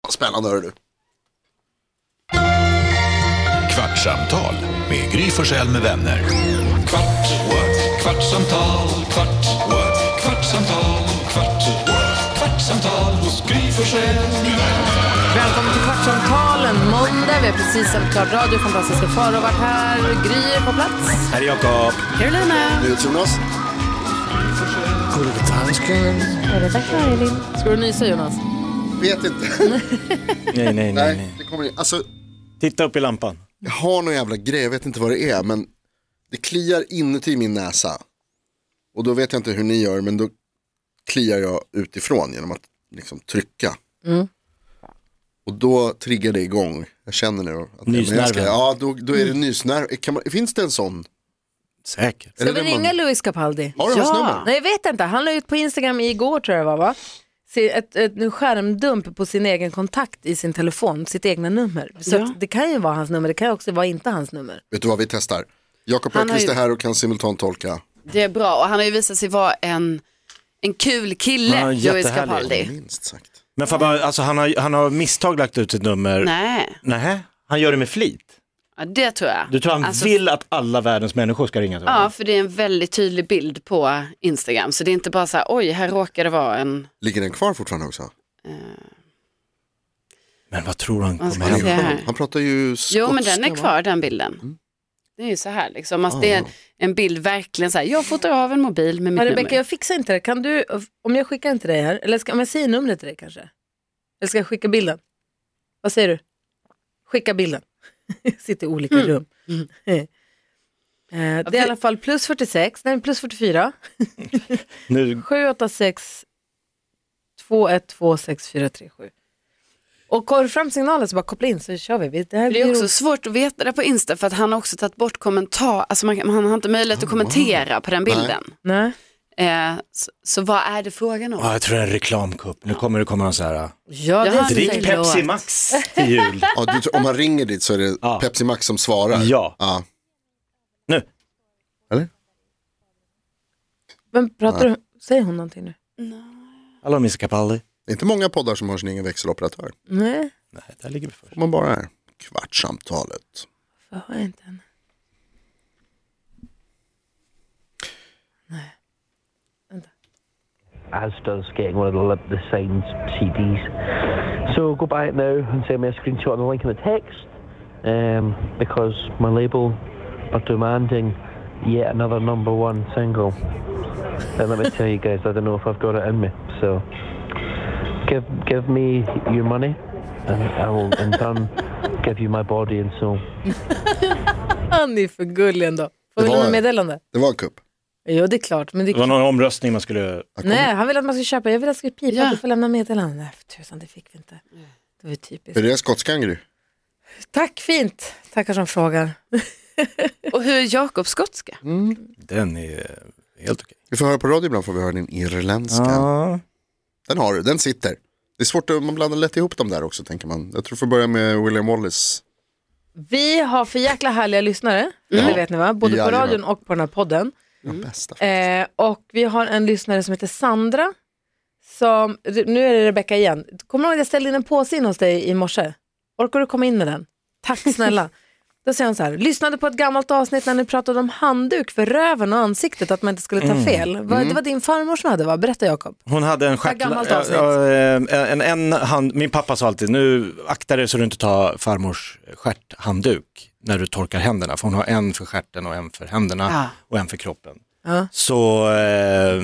Vad spännande hör du. Kvartsamtal med Gry Forssell med vänner. Kvart, what? kvartsamtal, kvart, what? kvartsamtal, kvart, what? kvartsamtal hos Gry Forssell med vänner. Välkommen till Kvartsamtalen måndag. Vi har precis sänt klart radio. Fantastiska faror varit här. Gry är på plats. Här är Jakob. Carolina. Jonas. Ska du nysa Jonas? Vet inte. Nej, nej, nej. Nej, nej. det kommer in. Alltså, Titta upp i lampan. jag har någon jävla grej, jag vet inte vad det är, men det kliar inuti min näsa. Och då vet jag inte hur ni gör, men då kliar jag utifrån genom att liksom trycka. Och då triggar det igång, jag känner nu att men jag ska- Nysnerven. Ja, då, då är det nysnerv. Kan man, finns det en sån? Säkert. Är Ska det vi den man- ringa Louis Capaldi? Har du hans nummer? Nej, jag vet inte. Han la ut på Instagram igår tror jag det var, va? Se- Ett, ett, en skärmdump på sin egen kontakt i sin telefon, sitt egna nummer. Så att det kan ju vara hans nummer, det kan ju också vara inte hans nummer. Vet du vad vi testar? Jakob Han har Öqvist ju- är här och kan simultantolka. Det är bra och han har ju visat sig vara en, en kul kille, Ja, Louis jättehärlig. Capaldi. Minst sagt. Men fan, bara, alltså, han, har, han har misstag lagt ut sitt nummer. Nej, Nähä? han gör det med flit. ja, det tror jag. Du tror han Alltså, vill att alla världens människor ska ringa till honom? Ja, för det är en väldigt tydlig bild på Instagram. Så det är inte bara så här, oj, här råkar det vara en... Ligger den kvar fortfarande också? Men vad tror han Vad ska kommer jag hända? säga? Det här. Han pratar ju Jo, men den skotska, är va? kvar, den bilden. Mm. Det är ju så här liksom, alltså, det är Ah. en bild verkligen så här, jag fotar av en mobil med mitt Men Rebecka, nummer. jag fixar inte det. Kan du, om jag skickar inte dig här, eller ska, om jag säger numret till dig kanske? Eller ska jag skicka bilden? Vad säger du? Skicka bilden. Jag sitter i olika Mm. rum. Eh, Det är i alla fall plus 46, nej plus 44, Nu, 786 2126437. Och går du fram signalen så bara koppla in så kör vi. Vi- Det här Det är blir också roligt. svårt att veta det på Insta för att han har också tagit bort kommentar, alltså man, kan- han har inte möjlighet Ah, att kommentera på den bilden. Nej. Eh, så, så vad är det frågan om? ja, jag tror det är en reklamkupp. Nu kommer det komma någon så här, äh, Ja, det Jaha, är drick Säg Pepsi låt. Max till jul. Ja, du, tror- om man ringer dit så är det Ja. Pepsi Max som svarar. Ja. ja. Nu, Eller? Men pratar du, säger hon någonting nu? alla missar Capaldi. Det är inte många poddar som har sin egen växeloperatör. Nej, Nej, där ligger vi först. Får man bara är Kvartssamtalet. för jag har inte henne. as does getting one of the, lip- the signed CDs. So go back now and send me a screenshot and a link in the text um, because my label are demanding yet another number one single. And let me tell you guys, I don't know if I've got it in me. So give give me your money and I will in turn give you my body and soul. Han är för gullig ändå. Får vi Det var- något meddelande? Det var en kupp. Jo, det är klart. Men det är Det var klart. någon omröstning man skulle... Nej, han ville att man skulle köpa. Jag ville att jag skulle pipa Ja. att du får lämna meddelande. Nej, för tusan, det fick vi inte. Det var ju typiskt. Är det skotskan Gry? Tack, fint. Tackar som frågar. Och hur är Jakob skotska? Mm. Den är helt okej. Vi får höra på radio ibland får vi höra din irländska. Ja. Den har du, den sitter. Det är svårt, att- man blandar lätt ihop dem där också tänker man. Jag tror vi får börja med William Wallace. Vi har för jäkla härliga lyssnare. Det vet ni va? Både på Jajamän. radion och på den här podden. Mm. Den bästa. Eh, och vi har en lyssnare som heter Sandra. Som, nu är det Rebecka igen. Kommer du ihåg att jag ställde in en påse in hos dig i morse? Orkar du komma in med den? Tack snälla. Då säger hon så här, lyssnade på ett gammalt avsnitt när ni pratade om handduk för röven och ansiktet, att man inte skulle ta fel. Vad- Det var din farmor som hade va? Berätta Jakob. Hon hade en gammalt stjärtla... avsnitt. eh, en, en, en hand... Min pappa sa alltid, nu akta dig så du inte tar farmors stjärthandduk när du torkar händerna. För hon har en för stjärten och en för händerna Ja. och en för kroppen. Ja. Så eh,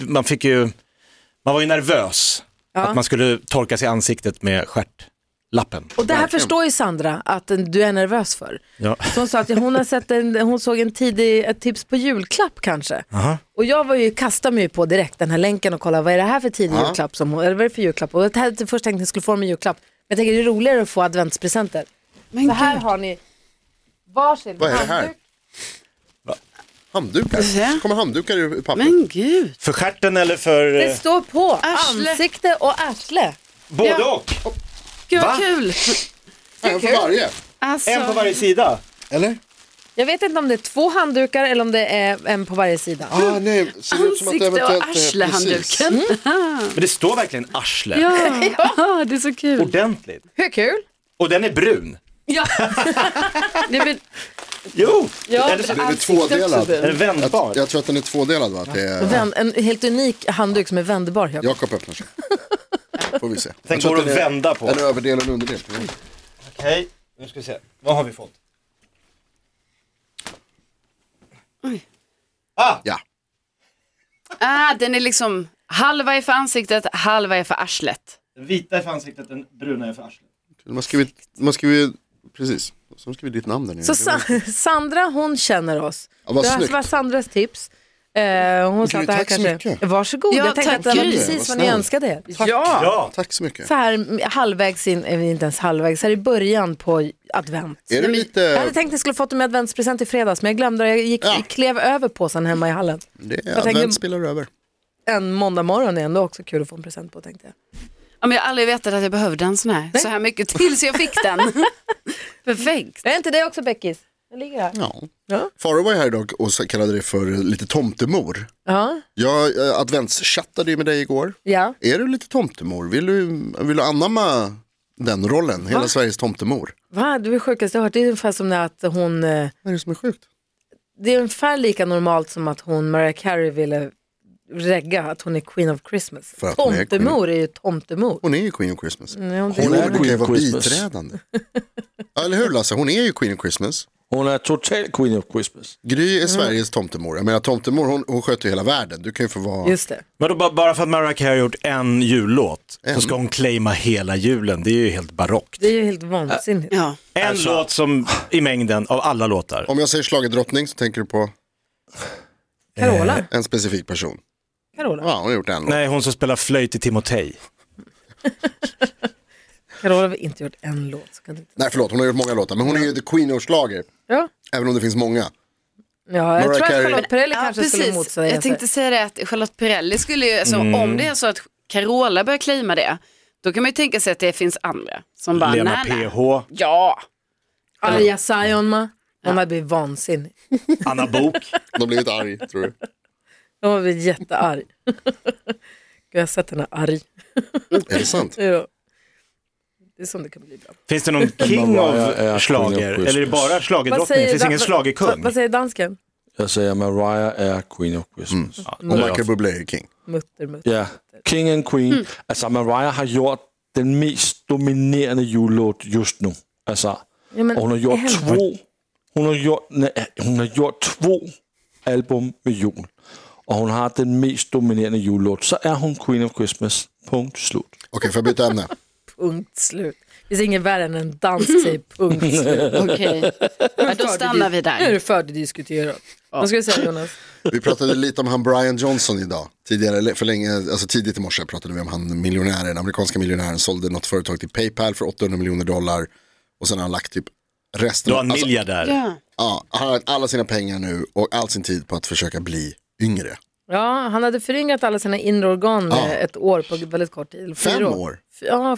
man fick ju, man var ju nervös att man skulle torka sig i ansiktet med stjärtlappen. Och det här förstår ju Sandra att du är nervös för. Ja. Så hon sa att hon, har sett en, hon såg en tidig, ett tips på julklapp kanske. Och jag var ju, kastade mig ju på direkt den här länken och kollade vad är det här för tidig julklapp som hon, eller vad är det för julklapp? Och jag hade först tänkt att jag skulle få dem i julklapp. Men jag tänker det är roligare att få adventspresenter. Men Så här har ni varsin Vad är det här? handduk. Handdukar. Ja. Kommer handdukar ur papper? Men gud. För stjärten eller för eh, Det står på Arsle. ansikte och arsle. både Ja. och? Gud vad Va? kul. en för varje. Alltså, En på varje sida? Eller? Jag vet inte om det är två handdukar eller om det är en på varje sida. Ah, nej, ser det ut som att det Ansikte och eventuellt är precis. arslehandduken. Men det står verkligen arsle. Ja. det är så kul. Ordentligt. Hur kul? Och den är brun. Ja. det är väl, Jo! ja, Eller så- Den är ansiktet tvådelad. också Är det brun. vändbar? Jag tror att den är tvådelad va? Att det är... Vänd, en helt unik handduk som är vändbar. Jakob. Jakob öppnar sig. Får vi se. Den Jag tror går att att är- vända på. Den är överdel och underdel. Okej, nu ska vi se. Vad har vi fått? Oj. Ah! Ja. Ah, den är liksom halva är för ansiktet, halva är för arslet. Den vita är för ansiktet, den bruna är för arslet. Man skriver, man skriver, precis. Så skriver ditt namn där nere. Så Sa Sandra hon känner oss. Ja, vad det här snyggt. var Sandras tips. Eh, hon Gud, sa att det här tack så kanske... mycket. Varsågod, Ja, jag tänkte tack, att det var Gud. precis Vad vad ni snäll. önskade er. Ja! Tack så mycket. Så här halvvägs in, eller inte ens halvvägs, här i början på advent. Är du Jag lite, hade tänkt att jag skulle fått dem i adventspresent i fredags men jag glömde det. Jag gick, Ja. klev över påsen hemma i hallen. det tänker- är advent spelar över. En måndag morgon är ändå också kul att få en present på tänkte jag. Ja, men jag har aldrig vetat att jag behövde en sån här, så här mycket tills jag fick den. Perfekt. Är inte det också Beckis? Den ligger här. Ja. Ja. Farao var ju här idag och så kallade det för lite tomtemor. Ja. Jag eh, adventschattade ju med dig igår. ja. Är du lite tomtemor? Vill du, vill du anamma den rollen? Hela Va? Sveriges tomtemor. Va? Du är sjukaste jag har hört. Det är ungefär som när att hon... eh, Vad är det som är sjukt? Det är ungefär lika normalt som att hon, Mariah Carey, ville regga att hon är Queen of Christmas. För att hon är queen. Tomtemor är ju tomtemor. Hon är ju Queen of Christmas. Nej, hon- Hon, är hon kan ju Queen vara of Christmas. biträdande. Ja, Eller hur Lasse? Hon är ju Queen of Christmas. Hon är total queen of Christmas. Gry är Sveriges tomtemor. Jag menar tomtemor hon, hon sköter ju hela världen. Du kan ju få vara... Just det. Men då, ba- bara för att Mariah Carey har gjort en jullåt En? så ska hon claima hela julen. Det är ju helt barockt. Det är ju helt vansinnigt. Ja. En låt som i mängden av alla låtar. Om jag säger schlagerdrottning så tänker du på Carola. en specifik person. Carola. Ja, hon har gjort en låt. Nej, hon som spelar flöjt i Timotej. Carola har inte gjort en låt. Så kan du... inte- Nej, förlåt. Hon har gjort många låtar. Men hon är ju the queen of schlager. Ja. Även om det finns många. Ja, jag Mariah tror att Carey. Charlotte Perrelli Ja, kanske skulle motsäga Jag tänkte sig. säga det att Charlotte Perrelli skulle ju, alltså, Mm. om det är så att Carola börjar claima det, då kan man ju tänka sig att det finns andra som bara, Lena nej, nej. PH, Ja, Arja Saijonmaa. Hon hade blivit vansinnig. Anna Bok. De har blivit arg, tror du. Hon hade blivit jättearg. Gud, jag har sett henne arg. Är det sant? Ja. Det är som det kan bli ibland. Finns det någon king Mariah är Queen of of schlager? Eller är det Christmas. bara schlagerdrottning? Finns Dan- ingen vad, schlagerkung? vad säger dansken? Jag säger Mariah är queen of Christmas. Ja, då Och är jag- Michael Bublé är king. Mutter, mutter. Ja, king and queen. Mm. Altså Mariah har gjort den mest dominerende julelåt just nu. Altså, Ja, men og hun har gjort helvete. två, hun har gjort, nej, hun har gjort två album med jul. Og hun har den mest dominerende julelåt. Så er hun queen of Christmas. Punkt slut. Okej, får jag byta ämne? Punkt slut. Det finns inget värre än en dansk säger punkt slut. okej. Men då stannar vi Nu är där. det färdigdiskuterat. Vad ska du säga Jonas? Vi pratade lite om han Brian Johnson idag. Tidigare, eller för länge, alltså tidigt i morse pratade vi om han miljonären, den amerikanska miljonären, sålde något företag till Paypal för 800 miljoner dollar. Och sen har han lagt typ resten. Då är han alltså, miljardär. Ja. ja, han har lagt alla sina pengar nu och all sin tid på att försöka bli yngre. Ja, han hade föryngrat alla sina inre organ Ja. eh, ett år på väldigt kort tid. Eller Fem fyra år. F- Ja,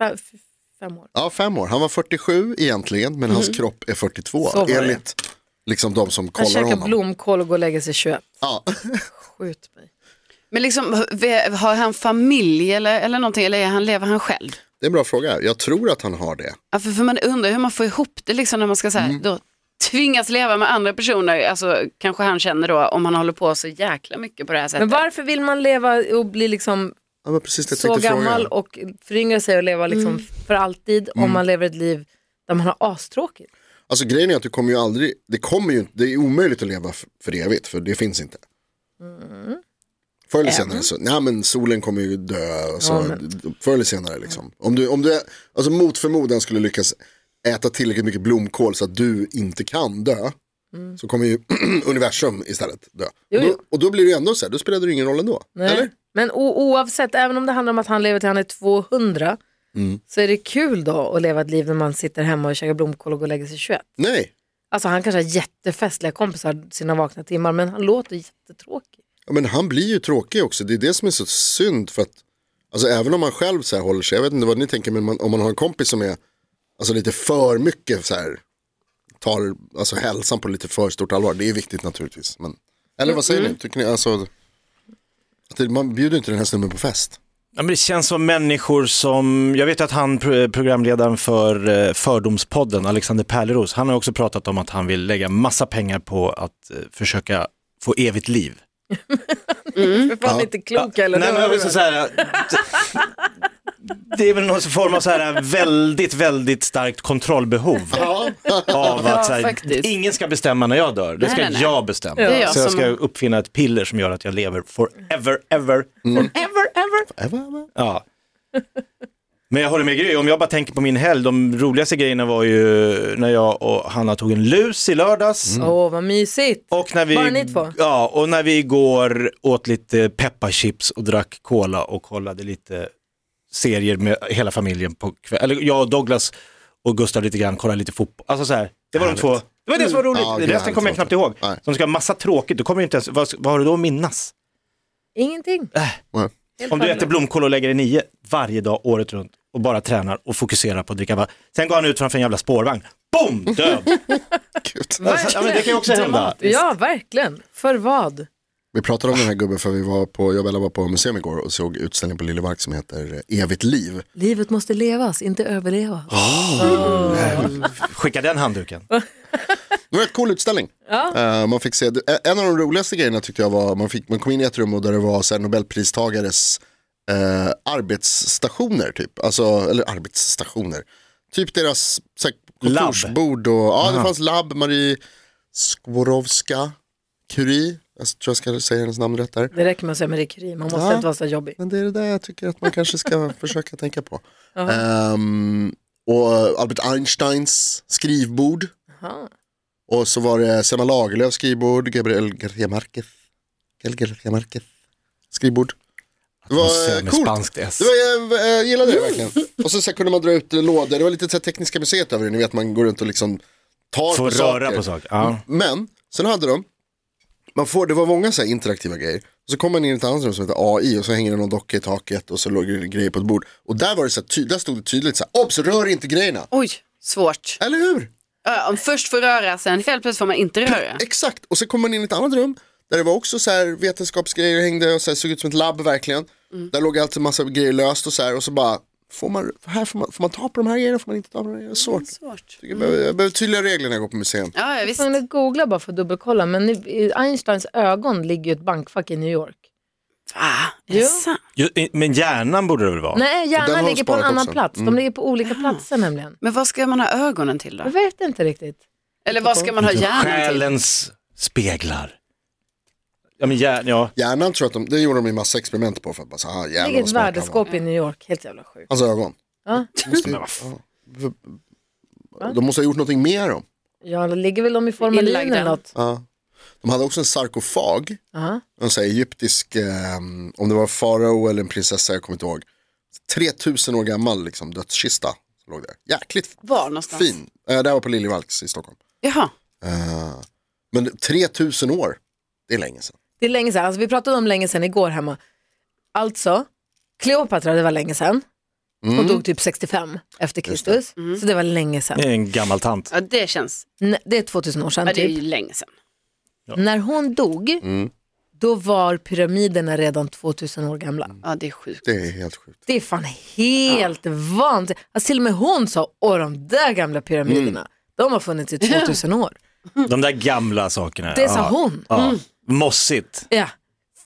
fe- f- fem år. Ja, fem år. Han var 47 egentligen, men hans kropp är 42. Mhm. Så var det. enligt liksom de som Han kollar käkar honom. blomkål och går och lägger sig 21. Ja. Skjut mig. Men liksom, har han familj eller, eller någonting, eller är han, lever han själv? Det är en bra fråga. Jag tror att han har det. Ja, för, för man undrar hur man får ihop det liksom när man ska så Mm. här, då tvingas leva med andra personer, alltså kanske han känner då om han håller på så jäkla mycket på det här Men sättet. varför vill man leva och bli liksom Ja, men precis det jag så tänkte gammal fråga. och föryngra sig och leva liksom Mm. för alltid Mm. om man lever ett liv där man har astråkigt? Alltså grejen är att du kommer ju aldrig, det kommer ju inte, det är omöjligt att leva f- för evigt för det finns inte. Mm. Förr eller senare så, nej men solen kommer ju dö, och så, förr eller senare liksom. Om du, om du, alltså mot förmodan skulle lyckas äta tillräckligt mycket blomkål så att du inte kan dö, så kommer ju universum istället dö. Mm. Jo, Och, jo. då, och då blir det ju ändå så här, då spelar det ju ingen roll ändå. Nej. Eller? Men o- oavsett, även om det handlar om att han lever till han är 200, Mm. så är det kul då att leva ett liv när man sitter hemma och käkar blomkål och går och lägger sig 21. Nej, Alltså han kanske har jättefestliga kompisar sina vakna timmar, men han låter jättetråkig. Ja, men han blir ju tråkig också. Det är det som är så synd för att alltså, även om man själv så här håller sig, jag vet inte vad ni tänker, men man, om man har en kompis som är alltså, lite för mycket så här tar alltså, hälsan på lite för stort allvar. Det är viktigt naturligtvis. Men... Eller vad säger ni? Tycker ni alltså, att det, man bjuder inte den här snubben på fest? Ja, men det känns som människor som, jag vet att han pro- programledaren för eh, Fördomspodden, Alexander Pärleros, han har också pratat om att han vill lägga massa pengar på att eh, försöka få evigt liv. För fan Ja. inte klok eller? Nej, men jag vill så här, eh, det är väl någon form av så här väldigt, väldigt starkt kontrollbehov. Ja, Av Ja, att så här, faktiskt. ingen ska bestämma när jag dör, det Nej, ska nej, nej. jag bestämma. Det är jag Så jag som- ska uppfinna ett piller som gör att jag lever forever, ever, forever, ever. Ja. Men jag håller med Gry, om jag bara tänker på min helg, de roligaste grejerna var ju när jag och Hanna tog en lus i lördags. Mm. Åh, vad mysigt. Och när vi, Bara ni två? Ja, och när vi igår åt lite pepparchips och drack cola och kollade lite serier med hela familjen på kvällen. Eller jag och Douglas och Gustav lite grann kollade lite fotboll. Alltså så här, det var de två. Det var det som var roligt, Ja, gud, resten härligt kommer jag låter. knappt ihåg. Nej. Så de ska ha massa tråkigt, då kommer jag inte ens, vad, vad har du då att minnas? Ingenting. Nej. Helt Om du värdelöst. äter blomkål och lägger i nio varje dag året runt och bara tränar och fokuserar på att dricka vatten. Sen går han ut framför en jävla spårvagn. Boom! Död! Gud. alltså, ja, men det kan ju också hända. Ja, verkligen. För vad? Vi pratade om den här gubben för vi var på, jag och Bella var på museum igår och såg utställningen på Liljemark som heter eh, Evigt liv. Livet måste levas, inte överlevas. Skicka den handduken. Det var en cool utställning. Eh, man fick se, det- en av de roligaste grejerna tyckte jag var, man, fick, man kom in i ett rum och där det var så här, nobelpristagares eh, arbetsstationer typ. Alltså, eller arbetsstationer. Typ deras så här, Labb. kontorsbord och, ja det fanns labb, Marie Skłodowska, Curie, jag tror jag ska säga hennes namn rätt där. Det räcker med att säga Marie Curie, man måste Ja. inte vara så jobbig. Men det är det där jag tycker att man kanske ska försöka tänka på. Ehm, och Albert Einsteins skrivbord. Aha. Och så var det Selma Lagerlöfs skrivbord, Gabriel García Márquez. Gabriel García Márquez skrivbord. Det var eh, Med coolt. spanskt S. Det var, jag, jag gillade det verkligen. Och så, så här kunde man dra ut lådor, det var lite så här tekniska museet över det, ni vet man går runt och liksom tar Få på röra saker. på saker. Ja. Men sen hade de, man får, det var många så här interaktiva grejer. Så kom man in i ett annat rum som heter AI och så hänger det någon docka i taket och så låg det grejer på ett bord. Och där, var det så här ty- där stod det tydligt så här, obs rör inte grejerna. Oj, svårt. Eller hur? Ja, om först får röra, sen helt plötsligt får man inte röra. Exakt, och sen kom man in i ett annat rum där det var också så här vetenskapsgrejer hängde och så här, såg ut som ett labb verkligen. Mm. Där låg alltid en massa grejer löst och så här och så bara, får man, här får, man, får man ta på de här grejerna, får man inte ta på de här grejerna? Svårt. Svårt. Jag behöver, jag behöver tydliga regler när jag går på museum. Ja, ja, visst. Jag att googla bara för att dubbelkolla, men i Einsteins ögon ligger ju ett bankfack i New York. Ah, är det Ja. sant? Ju- Men hjärnan borde det väl vara? Nej, den har hjärnan de ligger på en sparat annan också. plats. Mm. De ligger på olika platser nämligen. Men vad ska man ha ögonen till Jag då? vet inte riktigt. Eller vad ska man ha hjärnan till? Typ Själens speglar. Ja, men hjärn, ja. Hjärnan tror jag att de, det gjorde de ju massa experiment på för att bara så här, "Ah, Det jävlar ligger vad ett smart han var." värdeskåp i New York, helt jävla sjukt. Hans Alltså, ögon. Ja. Måste, ja. De måste ha gjort någonting med dem. Ja, det ligger väl de i formalin Inlagda. eller något. Ja. De hade också en sarkofag, Ja. en sån här egyptisk, eh, om det var en farao eller en prinsessa, jag kommer inte ihåg. 3000 år gammal liksom, dödskista. som Låg där. Jäkligt Var någonstans? fin. Eh, det här var på Liljevalchs i Stockholm. Jaha. Eh, men 3000 år, det är länge sedan. Det är länge sedan, alltså, vi pratade om länge sedan igår hemma. Alltså, Kleopatra det var länge sedan. Hon Mm. dog typ 65 efter Kristus, så det var länge sedan. Det är en gammal tant. Ja, det känns. Nej, Det är 2000 år sedan Ja, det är typ. ju länge sedan. När hon dog, Mm. då var pyramiderna redan 2000 år gamla. Ja, det är sjukt. Det är helt sjukt. Det är fan helt vansinnigt. Alltså, till och med hon sa, åh de där gamla pyramiderna, de har funnits i 2000 år. De där gamla sakerna. Det sa ja. hon. Ja. Mossigt. Ja.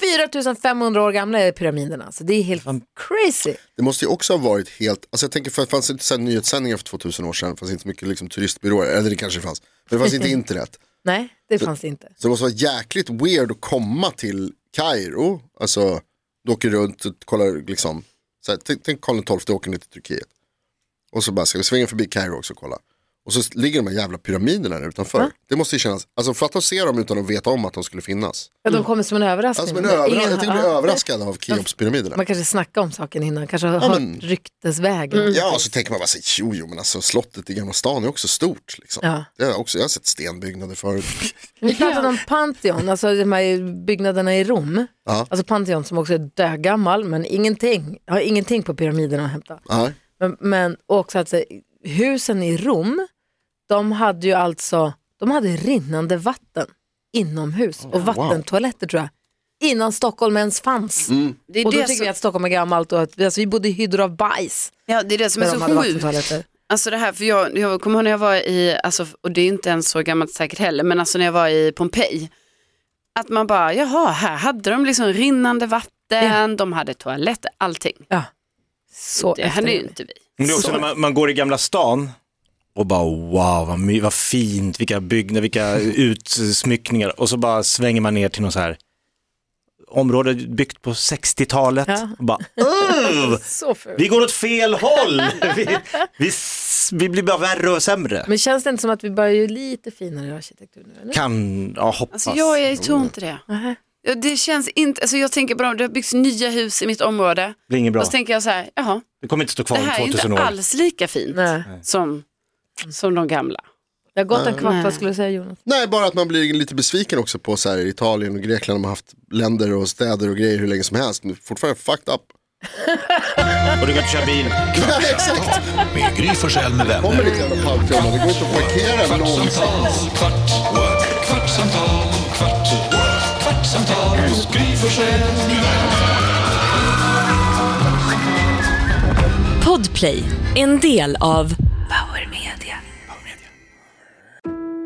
4500 år gamla är pyramiderna, så det är helt crazy. Det måste ju också ha varit helt, alltså jag tänker för det fanns inte så här nyhetssändningar för 2000 år sedan, det fanns inte så mycket liksom turistbyråer, eller det kanske fanns, men det fanns inte internet. Nej, det fanns det inte. Så det måste vara jäkligt weird att komma till Kairo, alltså du åker runt och kollar liksom, så här, tänk, tänk Karl XII åker ner till Turkiet. Och så bara ska vi svänga förbi Kairo också och kolla. Och så ligger de här jävla pyramiderna där utanför. Det måste ju kännas, alltså fatta att se dem utan att veta om att de skulle finnas. Ja, de kommer som en överraskning. Alltså men överra- jag Ingen- tänker bli ja. Mm. överraskad av Keopspyramiderna. Man kanske snackar om saken innan, kanske har hört men- Mm. ryktesvägen. Ja, och så tänker man bara så här, jo, jo, men alltså slottet i Gamla stan är också stort. Liksom. Ja. Det har jag också, jag har sett stenbyggnader förut. Vi pratade om Pantheon, alltså de här byggnaderna i Rom. Ja. Alltså Pantheon som också är dögammal, men ingenting, har ingenting på pyramiderna att hämta. Nej. Men, men och också att så, husen i Rom, de hade ju alltså, de hade rinnande vatten inomhus Oh, och vattentoaletter tror jag. Innan Stockholm ens fanns. Det är Och då det tycker som, vi att Stockholm är gammalt och att alltså, vi bodde i hydror av bajs. ja, det, är det som är när så de hade sjukt. vattentoaletter. Alltså det här, för jag, jag kommer ihåg när jag var i, alltså, och det är inte ens så gammalt säkert heller, men alltså när jag var i Pompeji. Att man bara, jaha, här hade de liksom rinnande vatten, de hade toaletter, allting. Ja. Så Det hade ju eftergivet. inte vi. Men det är också när man, man går i Gamla stan och bara wow, vad, my, vad fint, vilka byggnader, vilka utsmyckningar. Och så bara svänger man ner till något så här område byggt på 60-talet. Ja. Och bara, "Ugh, Så fult. vi går åt fel håll! Vi, vi, s- vi blir bara värre och sämre. Men känns det inte som att vi börjar ju lite finare arkitektur nu? Eller? Kan, ja hoppas. Alltså jag, är- jag tror inte det. Nähä. Ja, Det känns inte, alltså jag tänker på dem, det har byggts nya hus i mitt område. Det blir inget bra. Och så tänker jag så här, jaha, Det kommer inte stå kvar det om här är 2000 år. inte alls lika fint Nej. som, som de gamla. Det har gått en kvart, Nej. vad skulle du säga Jonas? Nej, bara att man blir lite besviken också på så här, Italien och Grekland. De har haft länder och städer och grejer hur länge som helst. Men fortfarande fucked up. Och du kan inte köra bil. Nej, exakt. Med Gry Forssell med Kommer vänner. lite jävla palmtrummor. Det går inte att parkera någonstans. Kvartsamtal, kvart, what? kvartsamtal, kvart, what? kvartsamtal hos Gry Forssell med vänner. Podplay, en del av Power Media.